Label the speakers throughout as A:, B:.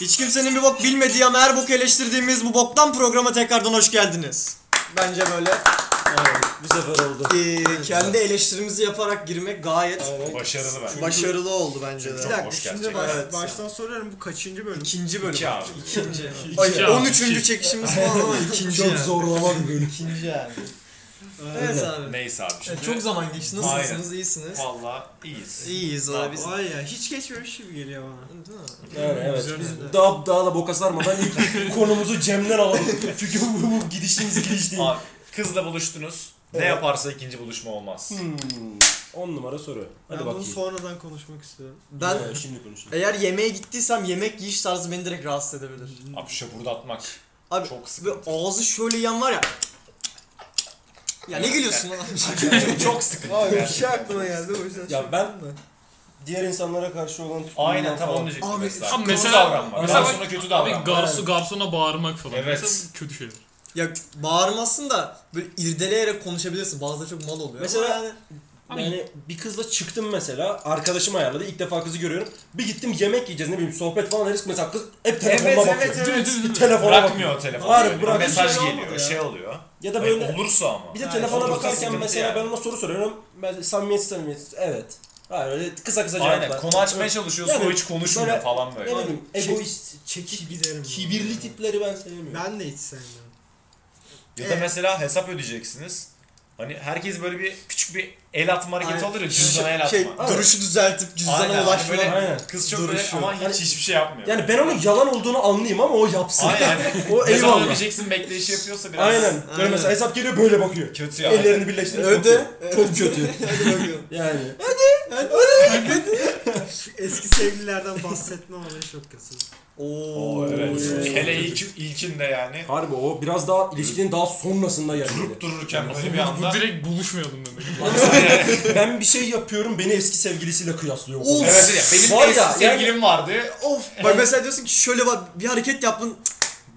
A: Hiç kimsenin bir bok bilmediği ama her boku eleştirdiğimiz bu boktan programa tekrardan hoş geldiniz. Bence böyle
B: Evet, bu sefer oldu.
A: eee, Ee, kendi eleştirimizi yaparak girmek gayet
C: Başarılı bence.
A: başarılı oldu bence de.
C: Çok
A: Bir dakika,
C: hoş
D: Şimdi
C: gerçekten.
D: baş-
A: Evet.
D: baştan soruyorum bu kaçıncı bölüm?
A: İkinci bölüm.
C: İki abi.
A: İkinci.
C: İki
A: Ay,
C: abi,
A: 13.
C: iki.
A: çekişimiz falan ama ikinci
B: Çok
A: yani.
B: zorlama bir bölüm.
A: İkinci yani. Evet
B: Öyle.
A: abi.
C: Neyse abi şimdi.
A: Evet, çok zaman geçti. Nasılsınız?
C: Aynen.
A: İyisiniz.
C: Valla iyiyiz.
A: İyiyiz abi biz.
D: Vay ya hiç geçmemiş gibi geliyor bana.
A: Değil mi?
B: Yani evet.
D: Üzerine.
B: Biz daha, daha da boka sarmadan ilk konumuzu Cem'den alalım. Çünkü bu, bu gidişimiz gidiş değil.
C: Abi, kızla buluştunuz. Ne
B: Evet.
C: yaparsa ikinci buluşma olmaz.
B: Hmm. On numara soru. Hadi
D: ben bunu
B: bakayım.
D: sonradan konuşmak istiyorum.
A: Ben
B: Evet, şimdi konuşalım.
A: eğer yemeğe gittiysem yemek yiyiş tarzı beni direkt rahatsız edebilir.
C: Abi şapurdatmak.
A: Abi,
C: çok
A: Ve
C: sıkıntı.
A: ağzı şöyle yan var ya. Ya ne gülüyorsun lan?
C: çok sıkıntı. gerçekten.
D: şey aklıma geldi o yüzden.
B: Ya ben diğer insanlara karşı olan tutumumdan
C: Aynen tam onu
B: falan-
C: diyecektim
D: Abi,
C: mesela.
E: tam
C: Kötü
E: mesela-
C: davranmak.
B: mesela
C: Garsona kötü
E: Abi
C: davranmak.
E: garsu, garsona bağırmak falan.
C: Evet.
E: Mesela kötü şey. şeyler.
A: ya bağırmazsın da böyle irdeleyerek konuşabilirsin. Bazıları çok mal oluyor.
B: Mesela-
A: Ama yani
E: Abi-
B: Yani bir kızla çıktım mesela. Arkadaşım ayarladı. ilk defa kızı görüyorum. Bir gittim yemek yiyeceğiz ne bileyim sohbet falan deriz. Mesela kız hep telefonuna
C: Evet,
B: bakıyor.
C: evet,
E: Değil mi, değil mi, değil mi?
B: Telefona bakıyor.
C: Bırakmıyor telefonu.
B: Var,
C: böyle.
B: bırakıyor,
C: Mesaj
D: şey olmadı
C: geliyor,
D: ya.
C: şey oluyor.
B: Ya da
C: Hayır,
B: böyle
C: olursa ama.
B: Bir de
D: Yani
B: telefona
C: olursa
B: bakarken
C: sıkıntı
B: mesela
C: yani.
B: ben ona soru soruyorum. Ben samimiyetsiz samimiyetsiz evet. Hayır öyle kısa kısa cevaplar.
C: Aynen konu açmaya çalışıyorsun
B: Yani
C: o hiç konuşmuyor
B: böyle-
C: falan
B: Ne
C: böyle.
B: bileyim
D: Şey-
B: egoist,
D: Ki
B: çekik,
D: giderim.
B: kibirli tipleri ben sevmiyorum.
D: Ben de hiç sevmiyorum.
C: Ya da
D: Ee?
C: mesela hesap ödeyeceksiniz. Hani herkes böyle bir küçük bir el atma hareketi
D: Aynen.
C: olur ya cüzdana el atma.
A: şey, duruşu düzeltip
C: Aynen,
A: cüzdana ulaşma.
C: böyle-
B: Aynen.
C: Kız çok
A: duruşu.
C: böyle ama hiç
B: Hani-
C: hiçbir şey yapmıyor.
B: Yani ben onun yalan olduğunu anlayayım ama o yapsın.
C: Aynen.
B: o
C: Ne zaman
B: eyvallah.
C: ödeyeceksin bekleyişi yapıyorsa şey biraz
B: Aynen. Böyle
A: Aynen.
B: mesela hesap geliyor böyle bakıyor.
C: kötü ya.
B: Ellerini birleştirip
A: Öde.
B: bakıyor. Çok kötü.
A: Hadi bakıyorum.
B: Yani.
D: Şu eski sevgililerden bahsetme olayı çok kötü.
A: Oo.
C: Oo, evet.
B: Oo.
C: Hele ilk, ilkinde yani.
B: Harbi o biraz daha ilişkinin daha sonrasında geldi.
C: Durup dururken böyle bir
E: Bu, bu
C: anda.
E: direkt buluşmayalım demek.
B: ben bir şey yapıyorum beni eski sevgilisiyle kıyaslıyor.
A: Of.
C: Evet ya benim
B: Var
C: eski
B: ya,
C: sevgilim vardı.
A: Of. Bak mesela diyorsun ki şöyle bak bir hareket yaptın.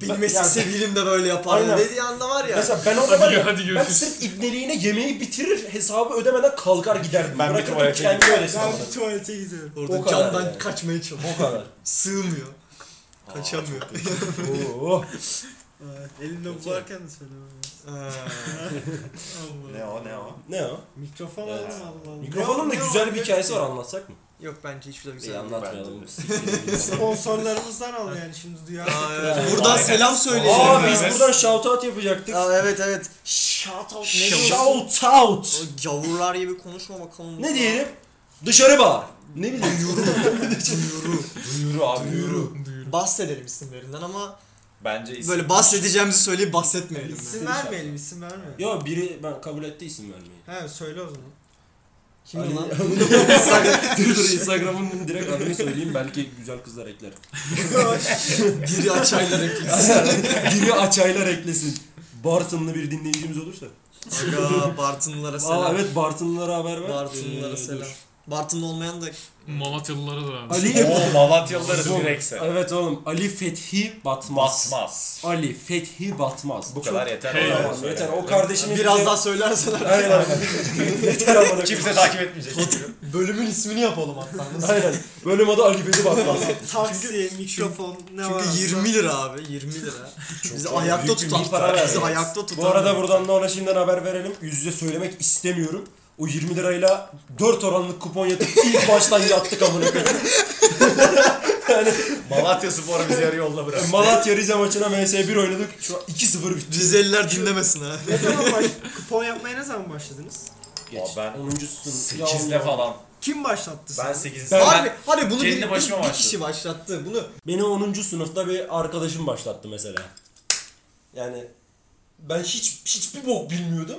A: Cık, Benim eski
B: Yani-
A: sevgilim de böyle
B: Aynen.
A: yapar. Dediği anda var ya.
B: Mesela ben o
E: hadi,
B: zaman
E: gö- hadi
B: Ben
E: görüşürüz.
B: sırf ibneliğine yemeği bitirir, hesabı ödemeden kalkar giderdim.
C: Ben bir
B: Bırakırdım
C: tuvalete
B: kendi öylesine
D: Ben
B: bana.
D: bir tuvalete gidiyorum.
B: o
A: Orada
B: kadar
A: camdan
B: yani.
A: kaçmaya çalışıyor.
B: O kadar.
A: Sığmıyor. Kaçamıyor.
B: Oo.
D: Ay, Elimle bularken de söylemem. lazım. Allah.
C: Ne o ne o.
B: Ne o?
D: Mikrofon
C: Evet.
D: aldım Allah. Allah.
B: Mikrofonun da
D: Ne o-
B: güzel
D: ne
B: bir
D: o-
B: hikayesi var anlatsak mı?
A: Yok bence hiçbir şey
B: İyi
A: güzel.
B: anlatmayalım.
D: Sponsorlarımızdan al yani şimdi duyar.
A: Aa, evet.
B: Aynen.
A: Buradan selam söyleyelim.
B: Aa
A: ya.
B: biz buradan shoutout yapacaktık.
A: Aa, evet evet. Shout out ne
E: Shout-
A: diyorsun? O
B: Shoutout!
A: gavurlar gibi konuşma bakalım.
B: Ne diyelim? Dışarı bağır. Ne bileyim
C: Duyuru abi. Duyuru.
A: Bahsedelim isimlerinden ama
C: Bence isim.
A: böyle bahsedeceğimizi söyleyip bahsetmeyelim. yani.
D: İsim vermeyelim isim vermeyelim.
B: Ya biri ben kabul etti isim vermeyi.
D: He söyle o zaman.
A: Kim
B: Ali-
A: lan?
B: dur dur Instagram'ın direkt adını söyleyeyim belki güzel kızlar ekler.
A: Biri açaylar eklesin.
B: Biri açaylar eklesin. Bartınlı bir dinleyicimiz olursa.
A: Aga Bartınlara selam.
B: Aa evet Bartınlılara haber ver.
A: Bartınlara
B: Ee,
A: selam.
B: dur.
A: Bartınlı olmayan da
E: Malatyalılara da abi.
B: Ali
C: Oo Malatyalıları
B: Oğlum,
C: direkse.
B: Evet oğlum Ali Fethi Batmaz.
C: Basmaz.
B: Ali Fethi Batmaz.
C: Bu kadar yeter.
E: Hey,
C: Allah'ım
B: Tamam,
C: söyle.
B: şey yeter o kardeşimiz
A: biraz
B: bize-
A: daha söylerseler
B: Aynen aynen. yeter ama.
C: Kimse takip etmeyecek.
A: bölümün ismini yapalım hatta. Nasıl?
B: Aynen. Bölüm adı Ali Fethi Batmaz.
D: Taksi, mikrofon ne var?
A: Çünkü 20 lira abi 20 lira. Bizi ayakta
C: büyük bir
A: tutan
B: miktar.
A: bizi ayakta tutan.
B: Bu arada buradan da ona şimdiden haber verelim. Yüz yüze söylemek istemiyorum. O 20 lirayla 4 oranlık kupon yatıp ilk baştan yattık amına koyayım.
C: Malatya Spor'u bizi yarı yolda bırak.
B: Malatya Rize maçına MS1 oynadık. Şu an 2-0 bitti.
A: Rizeliler dinlemesin ha.
D: Ne zaman baş... Kupon yapmaya ne zaman başladınız?
B: Geç.
C: ben
B: 10. sınıf.
C: 8'de
B: Ya Allah.
C: falan.
D: Kim başlattı
C: Ben
D: sizi?
C: 8'de
B: Ben-
A: Harbi, harbi bunu
C: kendi
A: bir,
C: başıma
A: bir, bir kişi
C: başladım.
A: başlattı. Bunu
B: Beni 10. sınıfta bir arkadaşım başlattı mesela. Yani ben hiç hiçbir bok bilmiyordum.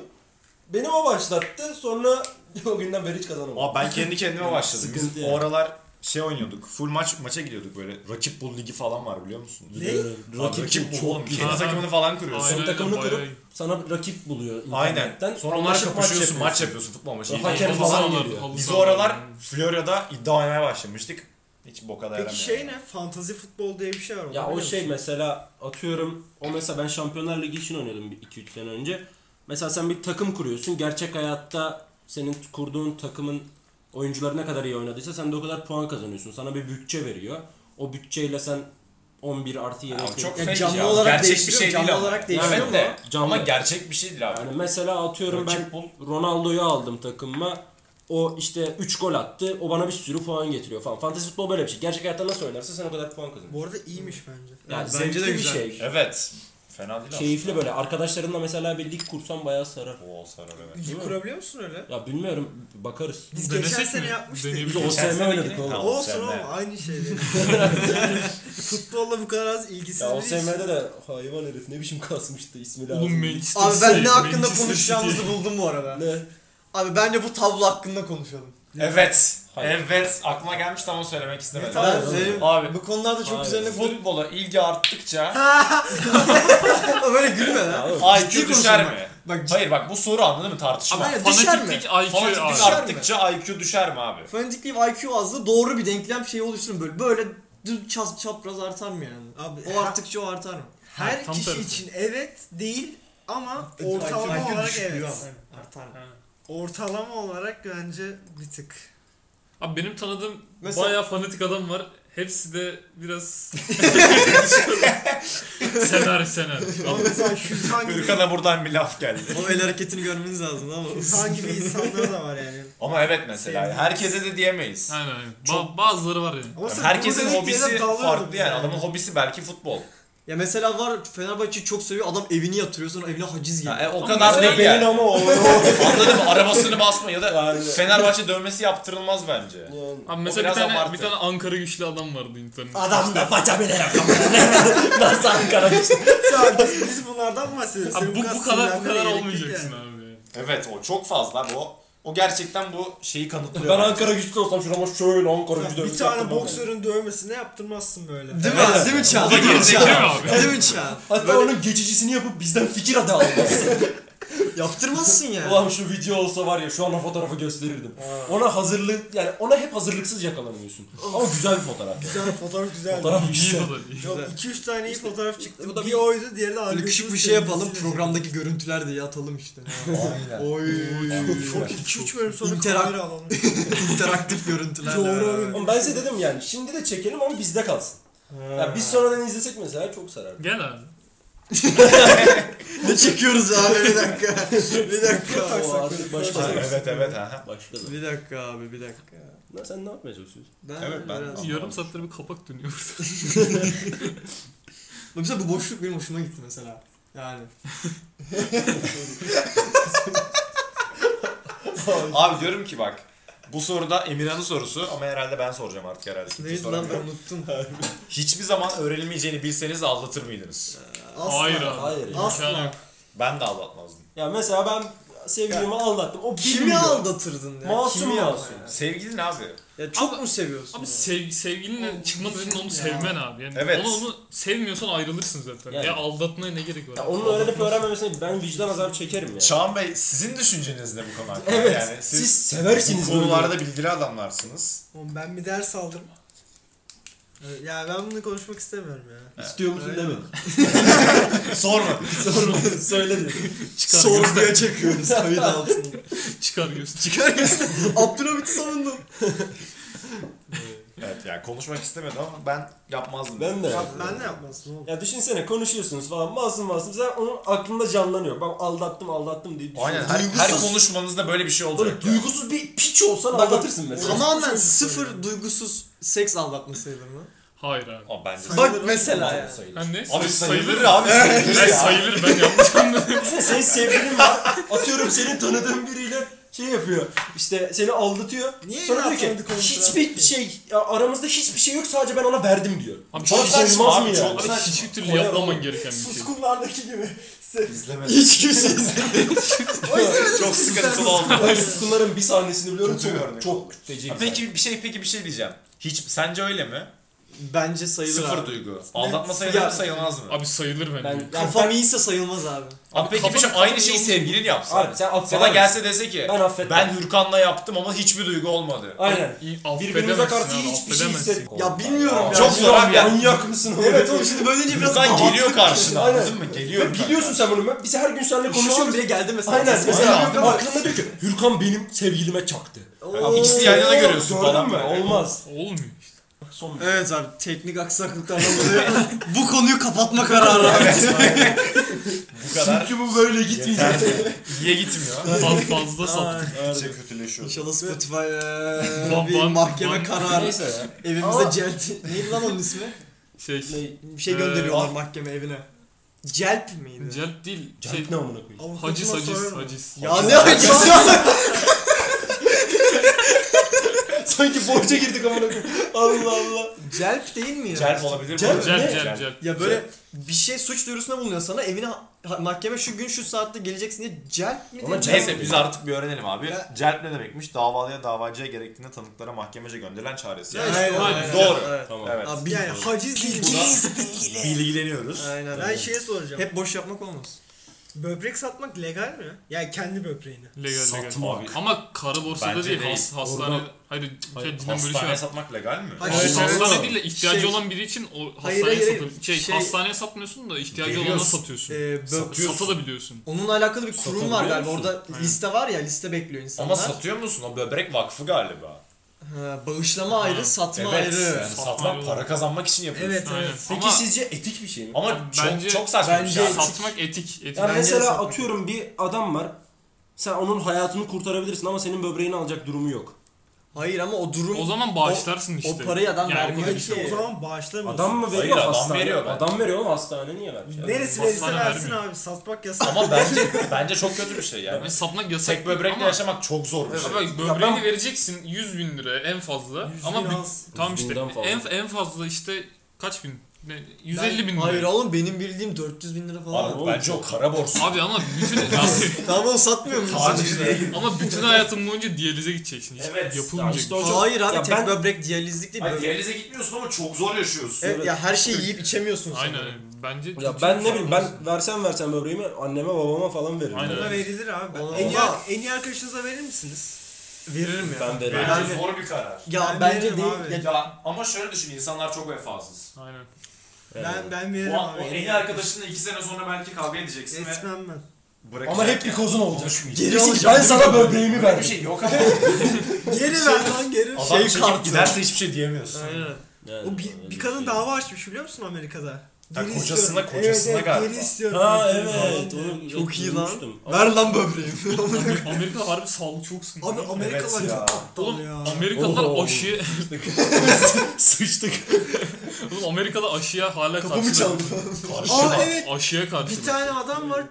B: Beni o başlattı. Sonra o günden beri hiç kazanamadım.
C: Aa, ben kendi kendime başladım. Biz
B: Sıkıntı yani.
C: o aralar şey oynuyorduk. Full maç maç'a gidiyorduk böyle. Rakip bul ligi falan var biliyor musunuz?
B: Ee,
C: Rakip,
B: Rakip
C: rakip
B: çok
C: bul oğlum.
B: güzel.
C: Kendi takımını falan kuruyorsun.
B: Son
E: Aynen,
B: takımını
E: bayağı
B: kurup
E: iyi.
B: sana rakip buluyor
C: Aynen.
B: internetten.
C: Sonra
B: Anlaşıp
C: onlarla kapışıyorsun, maç
B: yapıyorsun.
C: yapıyorsun futbol maçı.
B: Hakem
C: İlginç
B: falan
C: falan.
B: geliyor.
E: halı
C: Biz o
E: sahalar.
C: aralar Florya'da iddia oynamaya başlamıştık. Hiç boka
D: Peki
C: dayanamıyor.
D: şey ne? Fantazi futbol diye bir şey var. onu
B: Ya o
D: biliyor
B: şey
D: musun?
B: mesela atıyorum o mesela ben Şampiyonlar Ligi için oynuyordum 2-3 sene önce. Mesela sen bir takım kuruyorsun. Gerçek hayatta senin kurduğun takımın oyuncuları ne kadar iyi oynadıysa sen de o kadar puan kazanıyorsun. Sana bir bütçe veriyor. O bütçeyle sen 11 artı
C: Ya,
B: yedek.
C: çok
B: Çok...
A: Yani
C: fake
A: canlı
C: ya.
A: olarak
C: Gerçek bir
A: değiştiriyor,
C: şey
A: canlı
C: değil
A: olarak
C: ama.
A: değişiyor
C: Evet de.
B: Canlı.
C: Ama gerçek bir şey değil abi.
B: Yani mesela atıyorum ben
C: Rakip bul.
B: Ronaldo'yu aldım takımıma. O işte 3 gol attı. O bana bir sürü puan getiriyor falan. Fantasy futbol böyle bir şey. Gerçek hayatta nasıl oynarsa sen o kadar puan kazanırsın.
D: Bu arada iyiymiş bence.
B: Yani
D: bence
B: zevkli
D: de
B: bir
D: güzel.
B: şey.
C: Evet. Fena değil
B: Keyifli böyle. Arkadaşlarınla mesela bir lig kursan bayağı sarar.
C: aslında. Oo sarar evet.
D: Lig kurabiliyor musun öyle?
B: Ya bilmiyorum. Bakarız.
D: Biz
E: Denesek
D: geçen sene
E: mi?
D: yapmıştık.
E: Deneyebiliriz.
B: Biz o
C: Geçen
B: sene
C: senekine-
B: oynadık oğlum.
C: Ha,
D: Olsun
C: OSM.
D: oğlum aynı şey. değil. Futbolla bu kadar az ilgisiz
B: Ya o
D: biriyiz.
B: SM'de de hayvan herif ne biçim kasmıştı ismi lazım.
E: Oğlum Manchester
A: Abi ben ne
E: City,
A: hakkında
E: Manchester City.
A: konuşacağımızı buldum bu arada.
B: Ne?
A: Abi bence bu tablo hakkında konuşalım.
C: Evet.
B: Hayır.
C: Evet. Aklıma gelmişti ama söylemek istemedim.
A: Tamam,
B: tamam.
A: benim-
C: Abi
A: Bu konularda çok
B: Abi,
A: üzerine
C: futbola ilgi arttıkça
A: Ama böyle gülme lan.
C: IQ düşer
A: konuşalım
C: mi?
A: Bak ciddi.
C: Hayır bak bu soru anladın mı tartışma.
A: Ama- Hayır, düşer mi?
E: şey Fanatiklik IQ
C: Fanatiklik
E: abi.
A: düşer mi?
C: arttıkça IQ düşer mi abi?
A: Fanatikliğim IQ azlığı doğru bir denklem şeyi oluşturun böyle. Böyle düz çap, çapraz artar mı yani?
D: Abi,
A: O arttıkça o artar mı?
D: Her
E: tam
D: kişi
E: tersi.
D: için evet değil ama
A: IQ
D: ortalama olarak
A: düşüyor
D: evet.
A: ama. Artar mı?
D: Ortalama olarak bence bir tık.
E: Abi benim tanıdığım
A: Mesela-
E: bayağı fanatik adam var. Hepsi de biraz... sener sener.
D: Ama mesela Şükran gibi,
C: Ürkan'a buradan bir laf geldi.
A: O el hareketini görmeniz lazım ama.
D: Şükran gibi insanlar da var yani.
C: Ama evet mesela yani herkese de diyemeyiz.
E: Aynen aynen. Ba-
C: Çok-
E: bazıları var yani.
D: Ama
C: Yani
D: sen
C: herkesin
D: burada denk
C: hobisi
D: gelip dalıyordun
C: farklı yani. Adamın hobisi belki futbol.
A: Ya mesela var Fenerbahçe'yi çok seviyor adam evini yatırıyor sonra evine haciz geliyor.
C: Ya, e, o
E: Ama
C: kadar
E: mesela
C: değil
B: Benim
C: yani.
B: ama o.
C: Anladın mı? Arabasını basma ya da
B: Yani-
C: Fenerbahçe dövmesi yaptırılmaz bence.
B: Yani.
E: Abi
C: O
E: mesela bir
C: biraz
E: tane,
C: abartı.
E: bir tane Ankara güçlü adam vardı internette.
A: Adam da faca bile yapamıyor.
B: Nasıl Ankara'da?
D: Sen- biz, biz bunlardan bahsediyoruz.
E: Abi
D: Senin
E: bu, bu kadar bu
D: sinirlenmene
E: kadar
D: gerek yok
E: olmayacaksın
D: yani.
E: abi.
C: Evet o çok fazla bu. O gerçekten bu şeyi kanıtlıyor.
B: Ben
C: bence.
B: Ankara güçlü olsam şurama şöyle Ankara güçlü
D: Bir
B: dövmesi
D: tane
B: yaptırmam
D: boksörün dövmesine yaptırmazsın böyle.
A: Değil mi? Değil mi Çağ?
E: O da gerizekalı abi.
A: Değil mi Çağ?
B: ben. Hatta onun geçicisini yapıp bizden fikir adı almaz.
A: Yaptırmazsın yani.
B: Ulan şu video olsa var ya şu an o fotoğrafı gösterirdim. Ona hazırlık yani ona hep hazırlıksız yakalanıyorsun. Ama güzel bir fotoğraf. yani.
D: Güzel fotoğraf güzel.
B: Fotoğraf
E: İyi
B: güzel.
E: falan. iyi.
D: Yok 2-3 tane iyi fotoğraf çıktı.
A: bu da
D: bir,
A: bir-
D: oydu diğeri de
A: Böyle
D: algoritma
A: küçük bir şey
D: sevgilisi.
A: yapalım programdaki görüntüler diye atalım işte.
B: Aynen.
A: Oy.
D: Çok 2-3 bölüm sonra
A: İnterak-
D: kamera alalım.
A: interaktif görüntüler.
D: Doğru,
A: beraber.
D: doğru.
B: Ama ben size dedim yani şimdi de çekelim ama bizde kalsın. Yani biz sonradan izlesek mesela çok sarar.
E: Gel abi.
A: Ne çekiyoruz abi bir dakika. bir dakika.
B: O artık başka.
C: Ha, evet evet ha.
B: Başka da.
A: bir dakika abi bir dakika.
B: Lan Sen ne yapmaya çalışıyorsun?
A: Ben
C: Evet, ben-
A: biraz...
C: Tamam.
E: Yarım saattir bir kapak dönüyor.
A: Bak Mesela bu boşluk benim hoşuma gitti mesela. Yani.
C: Abi diyorum ki bak. Bu soruda Emirhan'ın sorusu ama herhalde ben soracağım artık herhalde. Kimse
A: Neydi lan ben
C: soramıyor.
A: unuttum.
C: Hiçbir zaman öğrenilmeyeceğini bilseniz de aldatır mıydınız?
D: Asla.
E: Hayır abi.
B: Hayır. ya.
E: İmkanı
D: Asla.
E: yok.
C: Ben de aldatmazdım.
B: Ya mesela ben sevgilimi aldattım. O
A: Kimi
B: bilmiyor.
A: aldatırdın ya?
B: Masum
A: Kimi
B: masum.
A: ama
C: Sevgilin abi.
A: Ya, ya çok mu seviyorsun?
E: Abi sev, sevgilinle çıkma dediğin onu sevmen abi. Yani
C: Evet.
E: onu onu sevmiyorsan ayrılırsın zaten.
B: Yani.
E: Ya aldatmaya ne gerek var?
B: Ya onun öğrenip öğrenmemesine ben vicdan azabı çekerim ya.
C: Çağan Bey sizin düşünceniz ne bu konu hakkında?
B: Evet.
C: Yani
B: siz,
C: siz,
B: seversiniz
C: bu konularda bilgili adamlarsınız.
D: Oğlum ben bir ders aldım. Evet, Ya ben bunu konuşmak istemiyorum ya.
B: İstiyor musun demedim.
C: Sorma.
B: Sormadım. Söyledim.
E: çıkar,
A: Sor
E: göster,
A: diye çekiyoruz kayıt altında.
E: çıkar göster.
A: Çıkar göster. Abdülhamit'i savundum.
C: Evet yani konuşmak istemedim ama ben yapmazdım.
B: Ben de.
D: Ya ben ne yapmasın oğlum?
B: Ya düşünsene konuşuyorsunuz falan masum masum sen onun aklında canlanıyor. Ben aldattım aldattım diye düşünüyorsun.
C: Aynen her, her
B: Duygusuz-
C: konuşmanızda böyle bir şey olacak.
B: Böyle
C: yani.
B: duygusuz bir piç olsan
A: Bak-
B: aldatırsın mesela.
A: Tamamen sıfır duygusuz seks aldatma sayılır mı?
E: Hayır abi.
C: Ama bence
A: Bak mesela yani.
B: Sayılır.
E: Ha ne?
C: Abi sayılır
E: abi.
C: abi sayılır
E: Ben
C: ya.
E: sayılır ben yanlış anladım.
B: Düşünsene senin sevgilin var. Atıyorum senin tanıdığın biriyle şey yapıyor. İşte seni aldatıyor.
D: Niye
B: Sonra
D: yine
B: diyor ki
D: atladık onu
B: hiçbir şey ya aramızda hiçbir şey yok sadece ben ona verdim diyor.
E: Abi
B: Bana
E: çok
C: saçma
B: sayılmaz
C: abi,
B: mı
C: çok
B: yani?
E: Abi hiçbir türlü
B: Kolay
E: yapmaman
B: olamaz.
E: gereken bir şey.
D: Suskunlardaki gibi.
C: İzlemedim.
A: Hiç kimse
C: Çok sıkıntılı oldu.
B: Ben suskunların bir sahnesini biliyorum.
C: Kötü bir
B: Çok,
C: örnek
B: çok
C: oldu.
B: kütleci.
C: Peki bir şey peki bir şey diyeceğim. Hiç sence öyle mi?
A: Bence sayılır
C: Sıfır
A: abi.
C: duygu. Aldatma sayılır
A: Ya-
C: mı sayılmaz mı? Abi,
E: Abi sayılır bence.
B: Ben, yani
A: Kafam iyiyse sayılmaz abi.
C: peki bir
E: kafanın-
C: şey aynı
E: kafanın
C: şeyi
E: yolu-
C: sevgilin yapsa.
B: Abi sen affeder
C: Sana
B: misin?
C: gelse dese ki
B: Ben affetmem.
C: ben Hürkan'la yaptım ama hiçbir duygu olmadı.
B: Aynen.
E: İyi, affedemezsin
B: Birbirimize karşı
E: abi,
B: hiçbir şey
E: affedemezsin.
B: hissetmiyorum.
A: Ya bilmiyorum ya.
C: Çok zor abi ya.
B: Manyak mısın?
A: Evet oğlum şimdi böyle deyince biraz
C: Hürkan geliyor karşına
B: Aynen.
C: anladın mı? Geliyor.
B: Biliyorsun Biliyorsun sen bunu. Ben- Biz her gün seninle
A: Şu an
B: konuşuyoruz.
A: bile geldi mesela.
B: Aynen. Mesela
C: Aynen.
B: aklında diyor ki Hürkan benim sevgilime çaktı.
A: Oo.
C: İkisini yan yana görüyorsun
B: Gördün
C: falan
B: mü?
C: böyle.
B: Olmaz.
E: Olmuyor işte.
B: Son bir.
D: Evet abi teknik aksaklıklarla
A: bu konuyu kapatma kararı aldık.
C: Bu kadar
B: Çünkü bu böyle gitmeyecek.
C: iyiye gitmiyor.
E: Fazla, fazla saptık.
C: Gittikçe kötüleşiyor.
A: İnşallah Spotify eee,
E: Ban-
A: bir
E: ban-
A: mahkeme
E: ban-
A: kararı
B: Neyse
C: Şey-
B: ya.
A: evimize
B: Ama-
A: celt. Neydi lan onun ismi?
E: Şey,
A: Bir şey
E: Ee,
A: gönderiyorlar
E: al.
A: mahkeme evine. Celp miydi?
E: celp değil. Şey,
B: Cenk ne amına koyayım.
E: haciz, haciz, haciz.
A: Ya ne alakası var?
B: Sanki borca girdik amına koyayım. Allah Allah.
A: Celp değil mi ya?
C: Celp olabilir mi?
B: Celp
E: Celp,
B: Ne?
E: celp, celp.
A: Ya böyle bir şey suç duyurusunda bulunuyor sana evine ha- mahkeme şu gün şu saatte geleceksin diye celp mi
C: Ama
A: diye-
C: neyse biz artık bir öğrenelim abi.
A: Ya-
C: Celp ne demekmiş? Davalıya davacıya gerektiğinde tanıklara mahkemece gönderilen çaresi.
D: Ya
C: Evet.
D: işte
A: Aynen,
D: o-
A: aynen.
C: Doğru.
A: Evet.
B: Tamam.
C: Evet.
A: Abi,
D: Yani haciz değil bu.
F: Bilgileniyoruz.
A: Aynen.
D: Ben şeye soracağım.
A: Hep boş yapmak olmaz.
D: Böbrek satmak legal mi? Yani kendi böbreğini.
E: Legal, legal.
F: Satmak.
E: Ama kara borsada
C: Bence
E: değil,
C: değil.
E: has- hastane.
B: Orada-
E: Hayır, şey, cidden böyle şey
C: Hastaneye
E: var.
C: satmak legal mi?
A: Hayır,
E: Hayır,
A: Evet,
E: hastane
A: evet.
E: değil de ihtiyacı
A: Şey-
E: olan biri için o
A: Hayır,
E: hastaneye
A: hayır,
E: satın. Şey,
A: hayır. Şey-
E: hastaneye satmıyorsun da ihtiyacı olana
C: Veriyorsun.
E: satıyorsun.
A: Ee, bö-
C: Satıyorsun.
E: Satabiliyorsun.
A: Onunla alakalı bir kurum var
B: Satabiliyor
A: galiba.
B: musun?
A: Orada liste var ya liste bekliyor insanlar.
C: Ama satıyor musun? O böbrek vakfı galiba.
A: Ha, bağışlama ayrı,
E: Ha,
A: satma
C: Evet.
A: ayrı.
C: Yani
E: Satmak
C: satmak
E: ayrı.
C: para kazanmak için yapıyorsun.
D: Evet
E: Aynen.
D: evet.
E: Ama
B: Peki sizce etik bir şey mi?
C: Ama
E: Ya
C: çok
E: bence-
C: çok saçma bir
A: bence
C: şey.
A: etik.
E: satmak etik.
B: Yani
E: etik.
A: Bence de
B: mesela
A: satmak.
B: atıyorum bir adam var. Sen onun hayatını kurtarabilirsin ama senin böbreğini alacak durumu yok.
A: Hayır ama o durum
E: o zaman bağışlarsın işte. şey.
A: o parayı adam vermiyor
E: kadar
A: ki.
E: işte.
D: O zaman bağışlamıyorsun.
B: Adam mı veriyor
C: Hayır, adam
B: hastane?
C: veriyor bence.
B: Adam veriyor ama hastane niye verecek?
D: Neresi
E: Hastane
D: verirse versin
E: vermiyor.
D: abi satmak yasak.
C: Ama bence bence çok kötü bir şey yani.
E: Yani satmak yasak.
C: Tek böbrekle
E: ama-
C: yaşamak çok zor bir şey.
E: Ama böbreğini
B: Ya ben-
E: vereceksin 100 bin lira en fazla. ama bir- tam
B: Yüz
E: işte
B: binden fazla.
E: en en fazla işte kaç bin? Ne,
A: Ben-
E: 150 bin lira.
A: Hayır oğlum benim bildiğim 400 bin lira falan.
C: Abi bence o kara borsa.
E: Abi ama bütün
A: tamam oğlum satmıyor musun?
E: ama bütün hayatım boyunca diyalize gideceksin. Hiç
C: Evet,
E: Yapılmayacak.
B: işte
E: bir
B: o-
E: şey.
A: Hayır abi
B: Ya
A: tek
B: ben-
A: böbrek diyalizlik değil.
C: Hayır
A: Böbrek.
C: diyalize gitmiyorsun ama çok zor yaşıyorsun.
A: Evet, ya her şeyi yiyip içemiyorsun sen.
E: Aynen. Bence
B: Ya
E: bütün- şey-
B: ben ne bileyim ben versem versem böbreğimi anneme babama falan veririm.
E: Aynen.
D: Buna verilir abi.
A: Ona-
D: en, iyi,
A: Ona-
D: en iyi arkadaşınıza verir misiniz?
A: Veririm ya.
B: Ben veririm.
C: Bence
A: Ben-
C: zor bir karar.
A: Ya
D: Ben
A: bence
D: veririm
A: değil.
D: abi.
A: Ya-
C: Ya ama şöyle düşün insanlar çok vefasız.
E: Aynen.
D: Ben ben veririm
C: O,
D: abi.
C: o en iyi arkadaşınla iki sene sonra belki kavga edeceksin ve
D: Etmem ben.
C: bırakacaksın.
B: Ama hep bir kozun olacak.
A: Geri alacağım.
B: Ben sana böbreğimi
C: Böyle bir
B: verdim.
C: şey yok abi.
D: Geri ver lan geri. ver.
C: Adam çekip
A: kartı.
C: giderse hiçbir şey diyemiyorsun.
A: Aynen.
D: O bir, bir şey. kadın dava açmış biliyor musun Amerika'da?
C: Ha,
D: Geri
C: kocasına-
D: istiyorum.
C: kocasına
D: evet, evet,
C: galiba.
D: Geri istiyorum.
B: Ha
D: Falan
B: evet.
D: diyor.
B: Onu
A: Çok iyi lan.
B: duymuştum. Ama-
A: Ver lan böbreğimi.
E: Amerika, Amerika harbi sağlık çok sıkıntı.
D: Abi Amerikalılar
C: Evet ya.
D: çok aptal
E: Oğlum
D: ya.
E: Amerikalılar
B: Oo.
E: aşıya...
B: Sıçtık.
E: Oğlum Amerikalı aşıya hala karşı.
A: Kapımı çaldı.
C: Karşı
D: Aa,
C: bak.
D: evet.
E: Aşıya karşı.
D: Bir tane adam var.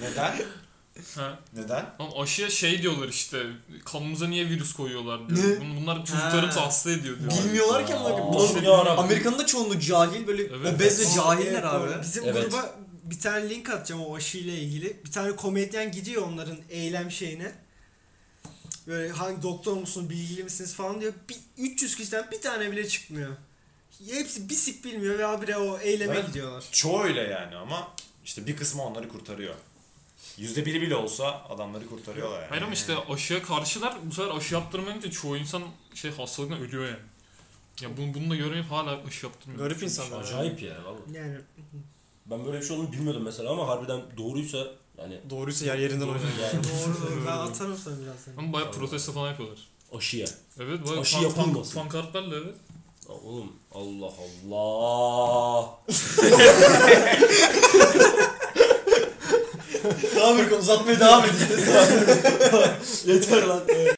C: Neden?
E: Ha.
C: Neden?
E: Oğlum aşıya şey diyorlar işte. Kanımıza niye virüs koyuyorlar
A: Ne?
E: diyor. Bun- Bunlar çocuklarımızı
A: Ha.
E: hasta ediyor diyor.
A: Bilmiyorlar ki ama.
B: Aa,
A: Oğlum,
B: yarabbim.
A: Amerika'nın da çoğunluğu cahil böyle
E: Evet.
A: obez ve cahiller
D: Evet,
A: abi.
D: doğru. Bizim
B: Evet.
D: gruba bir tane link atacağım o aşıyla ilgili. Bir tane komedyen gidiyor onların eylem şeyine. Böyle hangi doktor musun, bilgili misiniz falan diyor. Bir, 300 kişiden bir tane bile çıkmıyor. Hepsi bisik bilmiyor ve abire o eyleme
C: Evet.
D: gidiyorlar.
C: Çoğu öyle yani ama işte bir kısmı onları kurtarıyor. Yüzde biri bile olsa adamları kurtarıyorlar yani.
E: Hayır ama işte aşıya karşılar. Bu sefer aşı yaptırmayınca çoğu insan şey hastalıktan ölüyor yani. Ya bunu, bunu da görmeyip hala aşı yaptırmıyor.
A: Garip insanlar.
B: Acayip ya vallahi.
D: Yani
B: Ben böyle bir şey olduğunu bilmiyordum mesela ama harbiden doğruysa yani
A: Doğruysa yer yerinden oynar.
B: yani
D: doğru doğru. ben atarım sana birazdan.
E: Ama bayağı protesto falan yapıyorlar.
B: aşıya.
E: Evet bayağı
B: Aşı
E: pan- pan-
B: yapılmasın.
E: pankartlarla evet.
B: Ya Oğlum Allah Allah.
A: Tamam bir uzatmaya devam edeceğiz.
B: Yeter lan.